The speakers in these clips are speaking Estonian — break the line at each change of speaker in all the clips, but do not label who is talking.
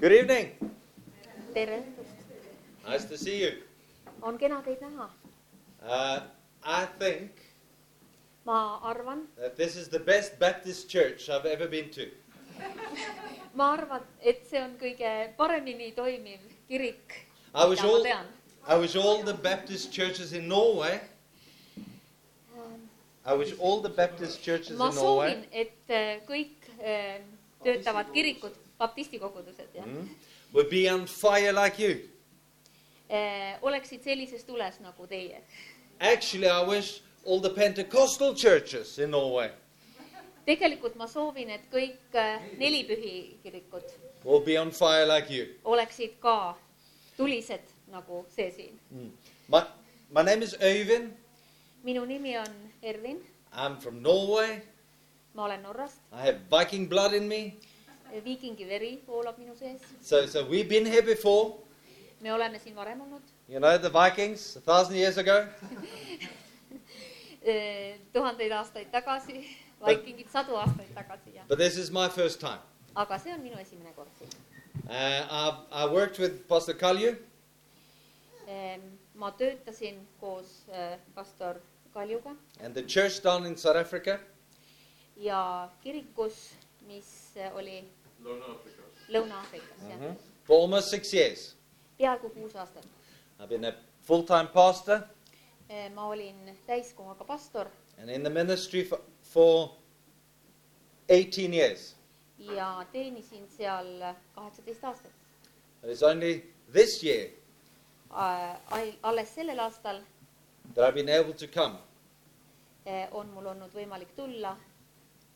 Good evening.
tere ,
Nice to see you.
on kena teid näha .
Uh, I think
ma arvan ,
that this is the best Baptist church I've ever been to.
ma arvan , et see on kõige paremini toimiv kirik ,
I
mida
wish
ma
all
tean .
I wish all the Baptist churches in Norway. I wish all the Baptist churches
ma
in Norway.
soovin , et eh, kõik eh, töötavad kirikud , baptistikogudused jah ,
Mm, would be on fire like you.
eh, oleksid sellises tules nagu teie .
Actually, I wish all the Pentecostal churches in Norway
tegelikult ma soovin , et kõik eh, nelipühi kirikud
will be on fire like you.
oleksid ka tulised nagu see siin .
Mm. My, my name is Øyvind.
minu nimi on Ervin ,
I'm from Norway.
ma olen Norrast ,
I have Viking blood in me.
viikingi veri voolab minu sees
So, so we've been here before.
me oleme siin varem olnud ,
You know, the Vikings, a thousand years ago.
eh, tuhandeid aastaid tagasi , vaikingid sadu aastaid tagasi ja ,
But this is my first time.
aga see on minu esimene kord siin .
Uh, I've, I worked with Pastor Kalju.
ma töötasin koos eh, pastor Kaljuga
and the church down in South Africa.
ja kirikus , mis eh, oli Lõuna-Aafrikas jah ,
For almost six years,
peaaegu kuus aastat .
I've been a full time pastor
Eh, ma olin täiskohaga pastor
and in the ministry for, for 18 years.
ja teenisin seal kaheksateist aastat .
And it's only this year
alles sellel aastal
that I've been able to come
eh, on mul olnud võimalik tulla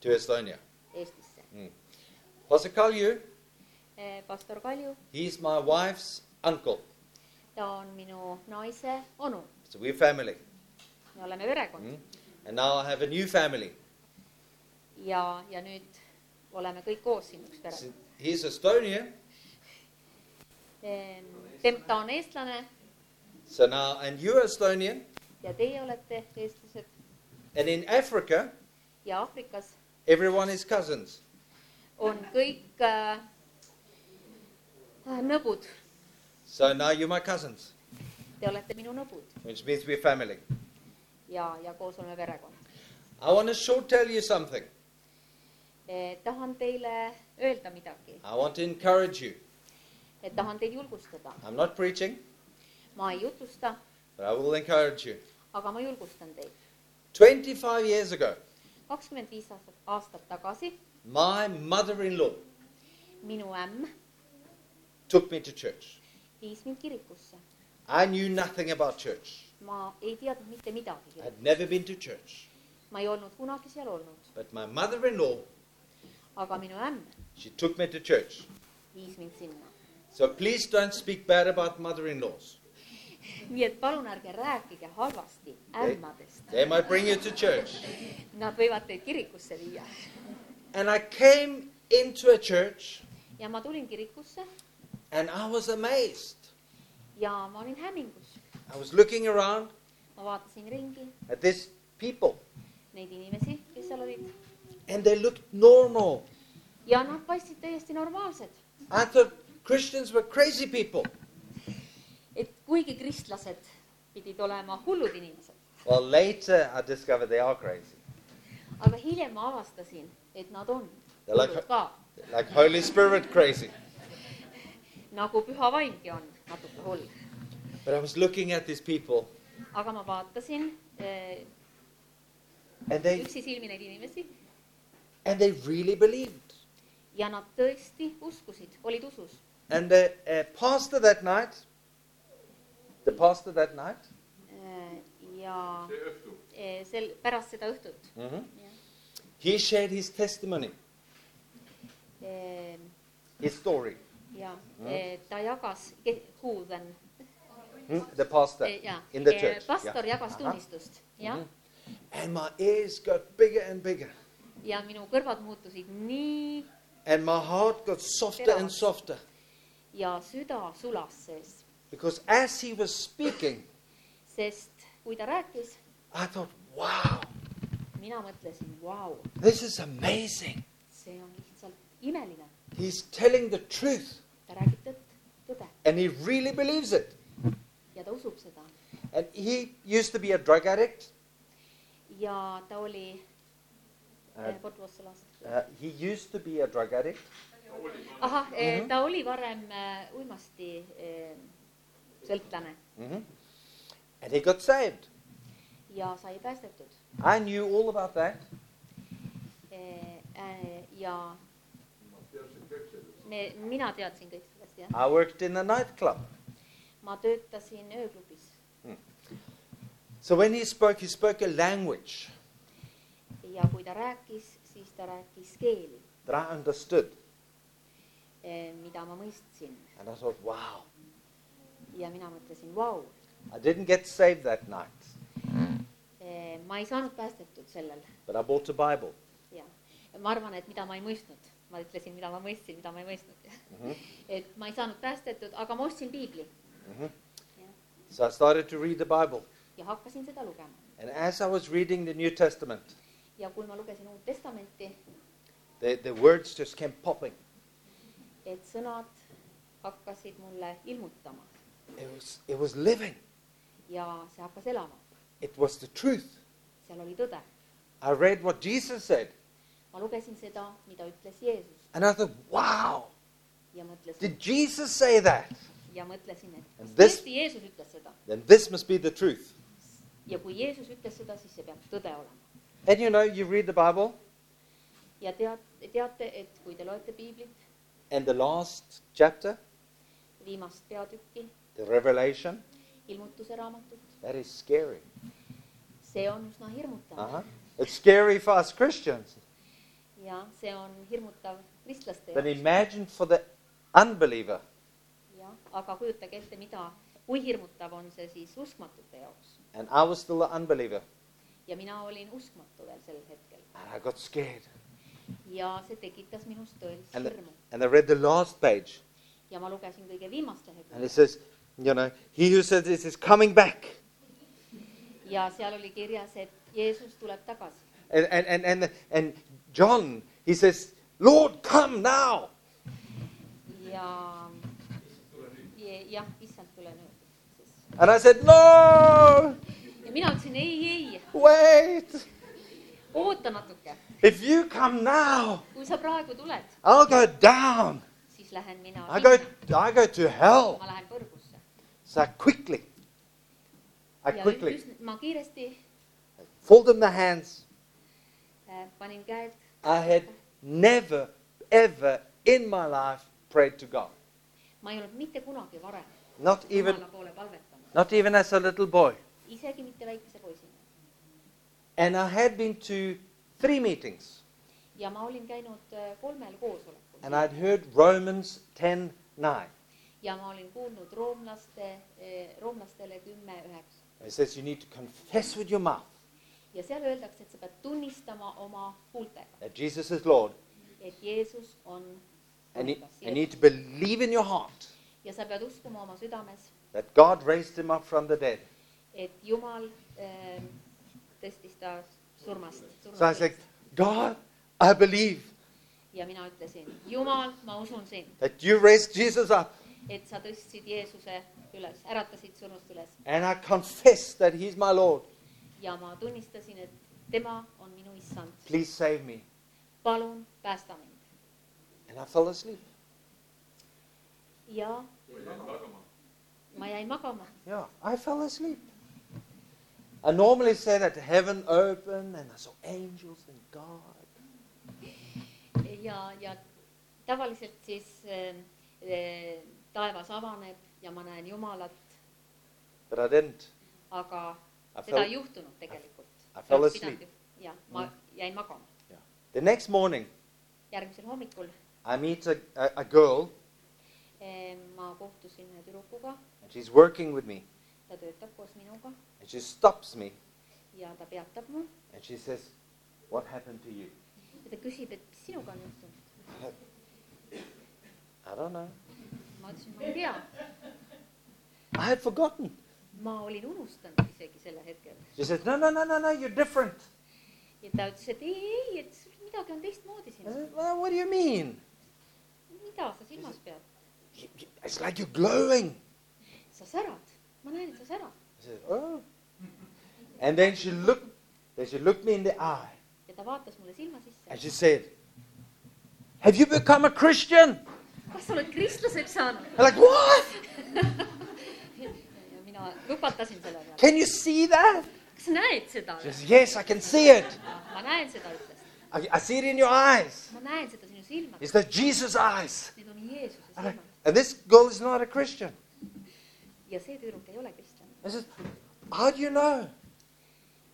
to Estonia.
Eestisse .
Mm. Pastor Kalju,
Eh, pastor Kalju
he's my wife's uncle.
ta on minu naise onu ,
So we're family.
me oleme perekond
Mm. And now I have a new family.
ja , ja nüüd oleme kõik koos siin üks
So
perekond .
He's Estonian.
Tem- , ta on eestlane
So now, and you're Estonian.
ja teie olete eestlased
And in Africa,
ja Aafrikas
everyone is cousins.
on kõik äh, nõbud ,
So now you're my cousins,
te olete minu nõbud
which means we're family.
ja , ja koos oleme perekond .
I want to short tell you something.
Eh, tahan teile öelda midagi ,
I want to encourage you.
et tahan teid julgustada .
I'm not preaching,
ma ei jutusta ,
but I will encourage you.
aga ma julgustan teid .
25 years ago,
kakskümmend viis aastat , aastat tagasi
my mother in law
minu ämm
took me to church.
viis mind kirikusse
I knew nothing about church,
ma ei teadnud mitte midagi ,
I'd never been to church.
ma ei olnud kunagi seal olnud ,
But my mother in law,
aga minu ämm
she took me to church.
viis mind sinna .
So please don't speak bad about mother in laws.
nii et palun ärge rääkige halvasti ämmadest ,
They might bring you to church.
nad võivad teid kirikusse viia .
And I came into a church
ja ma tulin kirikusse
and I was amazed.
ja ma olin hämmingus ,
I was looking around
ma vaatasin ringi
at these people
neid inimesi , kes seal olid
and they looked normal.
ja nad paistsid täiesti normaalsed ,
I thought Christians were crazy people.
et kuigi kristlased pidid olema hullud inimesed ,
Well, later I discovered they are crazy.
aga hiljem ma avastasin , et nad on
Ja läks-
hullud ka ,
Like Holy Spirit crazy.
nagu püha vaimgi on natuke hull
But I was looking at these people
aga ma vaatasin eh,
and they,
üksisilmi neid inimesi
and they really believed.
ja nad tõesti uskusid , olid usus
And the uh, pastor that night, the pastor that night,
Eh, ja eh, sel , pärast seda õhtut
Mm-hmm. he shared his testimony,
eh,
his story.
ja
Mhm.
eh, ta jagas , who then
Hmm? The pastor
eh, ja
in the
eh,
church. Mhm.
pastor
Yeah. Uh-huh.
jagas
Ahah.
tunnistust jah ,
And my ears got bigger and bigger.
ja minu kõrvad muutusid nii
And my heart got softer and softer.
ja süda sulas sees ,
Because as he was speaking,
sest kui ta rääkis ,
I thought, wow,
mina mõtlesin , vau ,
this is amazing.
see on lihtsalt imeline ,
He's telling the truth. and he really believes it.
ja ta usub seda
And he used to be a drug addict.
ja ta oli
Uh,
eh, Portugalisse lastud .
uh, he used to be a drug addict.
ahah eh,
Mhm.
ta oli varem eh, uimasti eh, sõltlane
hmm And he got saved.
ja sai päästetud
I knew all about that.
Eh, eh, ja me , mina teadsin kõik sellest jah ,
I worked in a nightclub.
ma töötasin ööklubis
So when he spoke, he spoke a language
ja kui ta rääkis , siis ta rääkis keeli ,
that I understood.
mida ma mõistsin
And I thought, wow,
ja mina mõtlesin , vau ,
I didn't get saved that night,
äh, ma ei saanud päästetud sellel
but I bought a Bible.
ja ma arvan , et mida ma ei mõistnud , ma ütlesin , mida ma mõistsin , mida ma ei mõistnud .
Mhm.
et ma ei saanud päästetud , aga ma ostsin piibli
So I started to read the Bible.
ja hakkasin seda lugema
And as I was reading the New Testament,
ja kui ma lugesin Uut Testamenti ,
the, the words just came popping.
et sõnad hakkasid mulle ilmutama
It was, it was living,
ja see hakkas elama ,
it was the truth.
seal oli tõde .
I read what Jesus said,
ma lugesin seda , mida ütles Jeesus
and I thought, wow,
ja mõtlesin
did Jesus say that?
ja mõtlesin , et kas
And this-
tõesti Jeesus ütles seda
Then this must be the truth.
ja kui Jeesus ütles seda , siis see peab tõde olema .
And you know, you read the Bible,
ja tead , teate , et kui te loete piiblit ,
and the last chapter,
viimast peatükki ,
the Revelation,
ilmutuse raamatut ,
that is scary.
see on üsna hirmutav
Uh-huh. It's scary for us Christians.
ja see on hirmutav kristlaste
But
jaoks
imagine for the unbeliever.
ja aga kujutage ette , mida , kui hirmutav on see siis uskmatute jaoks
And I was still an unbeliever.
ja mina olin uskmatu veel sel hetkel
And I got scared.
ja see tekitas minus tõelist
And,
hirmu
and I read the last page.
ja ma lugesin kõige viimast
And it
lehekülge
says, you know, he who says this is coming back.
ja seal oli kirjas , et Jeesus tuleb tagasi
And, and, and, and, and John, he says, Lord, come now.
ja ja- jah , issand , tule nüüd siis .
And I said, no,
ja mina ütlesin ei , ei ,
wait.
oota natuke ,
If you come now,
kui sa praegu tuled ,
I'll go down.
siis lähen mina
I go,
sinna.
I go to hell.
ma lähen põrgusse .
So I quickly, I
ja
quickly
üsna- ma kiiresti
fold in the hands.
äh, panin käed ,
I had never, ever in my life prayed to God.
ma ei olnud mitte kunagi varem
Not even,
jumala poole palvetamas ,
not even as a little boy.
isegi mitte väikese poisina .
And I had been to three meetings,
ja ma olin käinud äh, kolmel koosolekul
and I'd heard Romans 10 9.
ja ma olin kuulnud roomlaste , roomlastele kümme üheksa
It says you need to confess with your mouth
ja seal öeldakse , et sa pead tunnistama oma huultega ,
that Jesus is Lord,
et Jeesus on
and you,
Jeesus.
and you need to believe in your heart
ja sa pead uskuma oma südames ,
that God raised him up from the dead.
et Jumal äh, tõstis ta surmast,
So I
surmast
said, God, I believe
ja mina ütlesin , Jumal , ma usun sind ,
that you raised Jesus up,
et sa tõstsid Jeesuse üles , äratasid surnust üles
and I confess that he's my Lord.
ja ma tunnistasin , et tema on minu issand ,
Please save me.
palun päästa mind
And I fell asleep.
ja ma jäin magama
Yeah, I fell asleep. I normally say that heaven opened and I saw angels and God.
ja , ja tavaliselt siis äh, äh, taevas avaneb ja ma näen Jumalat ,
But I didn't.
aga
I
seda
fell,
ei juhtunud tegelikult
I fell asleep. . Mm-hmm.
jah , ma jäin magama .
The next morning,
järgmisel hommikul
I meet a, a, a girl
eh, ma kohtusin ühe tüdrukuga ,
and she's working with me.
ta töötab koos minuga
And she stops me
ja ta peatab mu
and she says, What happened to you?
ja ta küsib , et mis sinuga on juhtunud .
I don't know.
ma ütlesin , ma ei tea ,
I had forgotten.
ma olin unustanud isegi selle hetkel
She says, No, no, no, no, no, you're different.
ja ta ütles , et ei , ei , et sul midagi on teistmoodi
I
siin ,
said, well, What do you mean?
mida sa silmas pead ?
"You- you- It's like you're glowing.
sa särad , ma näen , et sa särad .
I said, Oh. And then she looked, then she looked me in the eye
ja ta vaatas mulle silma
and she
sisse .
said, Have you become a Christian?
kas sa oled kristlaseks saanud ?
I'm like, What?
ja mina lõpetasin selle peale .
Can you see that?
kas sa näed seda ?
She says, Yes, I can see it.
ma näen seda , ütles .
I, I see it in your eyes.
ma näen seda sinu silmades .
It's the Jesus eyes.
Need on Jeesuse
I'm like,
silmad
and this girl is not a Christian.
ja see tüdruk ei ole kristlane .
I said, How do you know?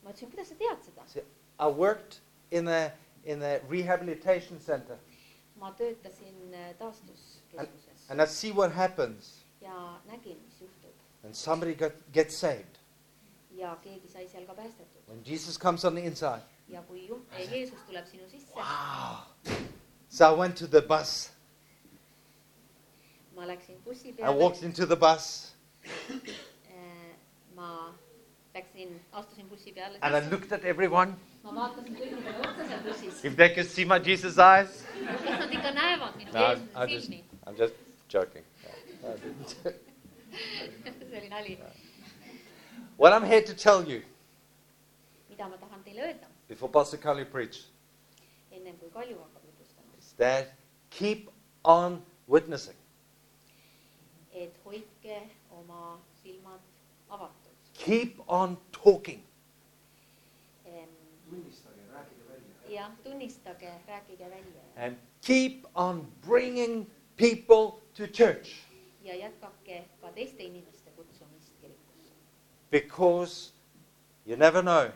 ma ütlesin , kuidas sa tead seda
I, said, I worked in a, in a rehabilitation center
ma töötasin äh, taastuskeskuses
and I see what happens
ja nägin , mis juhtub
when somebody got, gets saved,
ja keegi sai seal ka päästetud
when Jesus comes on the inside.
ja kui ju-
Äh.
eh, Jeesus tuleb sinu sisse ,
Wow. So I went to the bus.
ma läksin bussi
I
peale
walked into the bus
eh, ma läksin , astusin bussi peale ,
and I looked at everyone.
ma vaatasin kõigile otsa seal bussis ,
If they could see my Jesus eyes.
kas nad ikka näevad minu
No, I'm,
Jeesuse
I'm, just,
silmi ,
I'm just joking. No, I didn't.
see oli nali .
what I'm here to tell you
mida ma tahan teile öelda ,
before Pastor Kali preached
ennem kui Kalju hakkab jutustama ,
is that keep on witnessing.
et hoidke oma silmad avatud .
Keep on talking.
jah , tunnistage , rääkige välja
And keep on bringing people to church
ja jätkake ka teiste inimeste kutsumist kirikusse ,
because you never know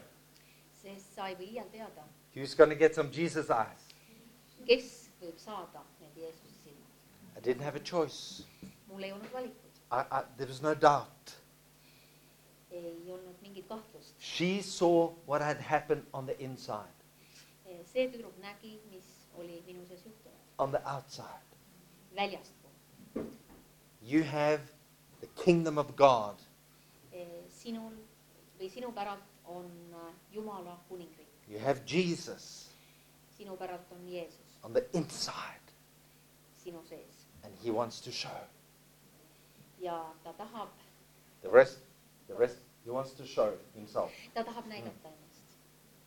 sest sa ei või iial teada ,
who's going to get some Jesus eyes.
kes võib saada need Jeesuse silmad .
I didn't have a choice.
mul ei olnud valikut ,
I, I, there was no doubt.
ei olnud mingit kahtlust .
She saw what had happened on the inside,
Eh, see tüdruk nägi , mis oli minu sees juhtunud ,
on the outside.
väljaspool .
You have the kingdom of God
Eh, sinul või sinu päralt on eh, Jumala kuningriik ,
You have Jesus
sinu päralt on Jeesus
on the inside,
sinu sees
and He wants to show.
ja ta tahab ,
The rest, the rest, He wants to show Himself.
ta tahab näidata ennast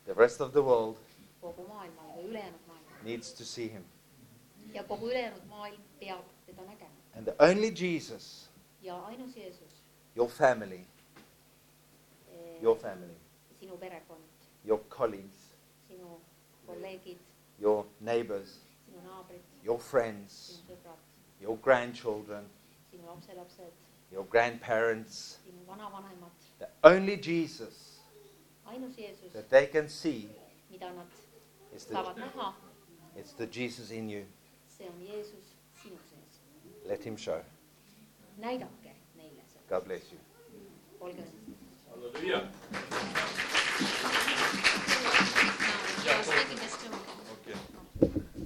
The rest of the world
kogu maailmale või ülejäänud maailmale
needs to see Him.
ja kogu ülejäänud maailm peab teda nägema .
And the only Jesus,
ja ainus Jeesus ,
your family, your family,
sinu perekond ,
your colleagues,
sinu kolleegid ,
your neighbors,
sinu naabrid ,
your friends,
sinu sõbrad ,
your grandchildren,
sinu lapselapsed ,
your grandparents,
sinu vanavanemad ,
the only Jesus
ainus Jeesus ,
that they can see
mida nad
is the,
saavad näha ,
it's the Jesus in you.
see on Jeesus sinu sees .
Let Him show.
näidake neile seda ,
God bless you.
olge õnnistatud .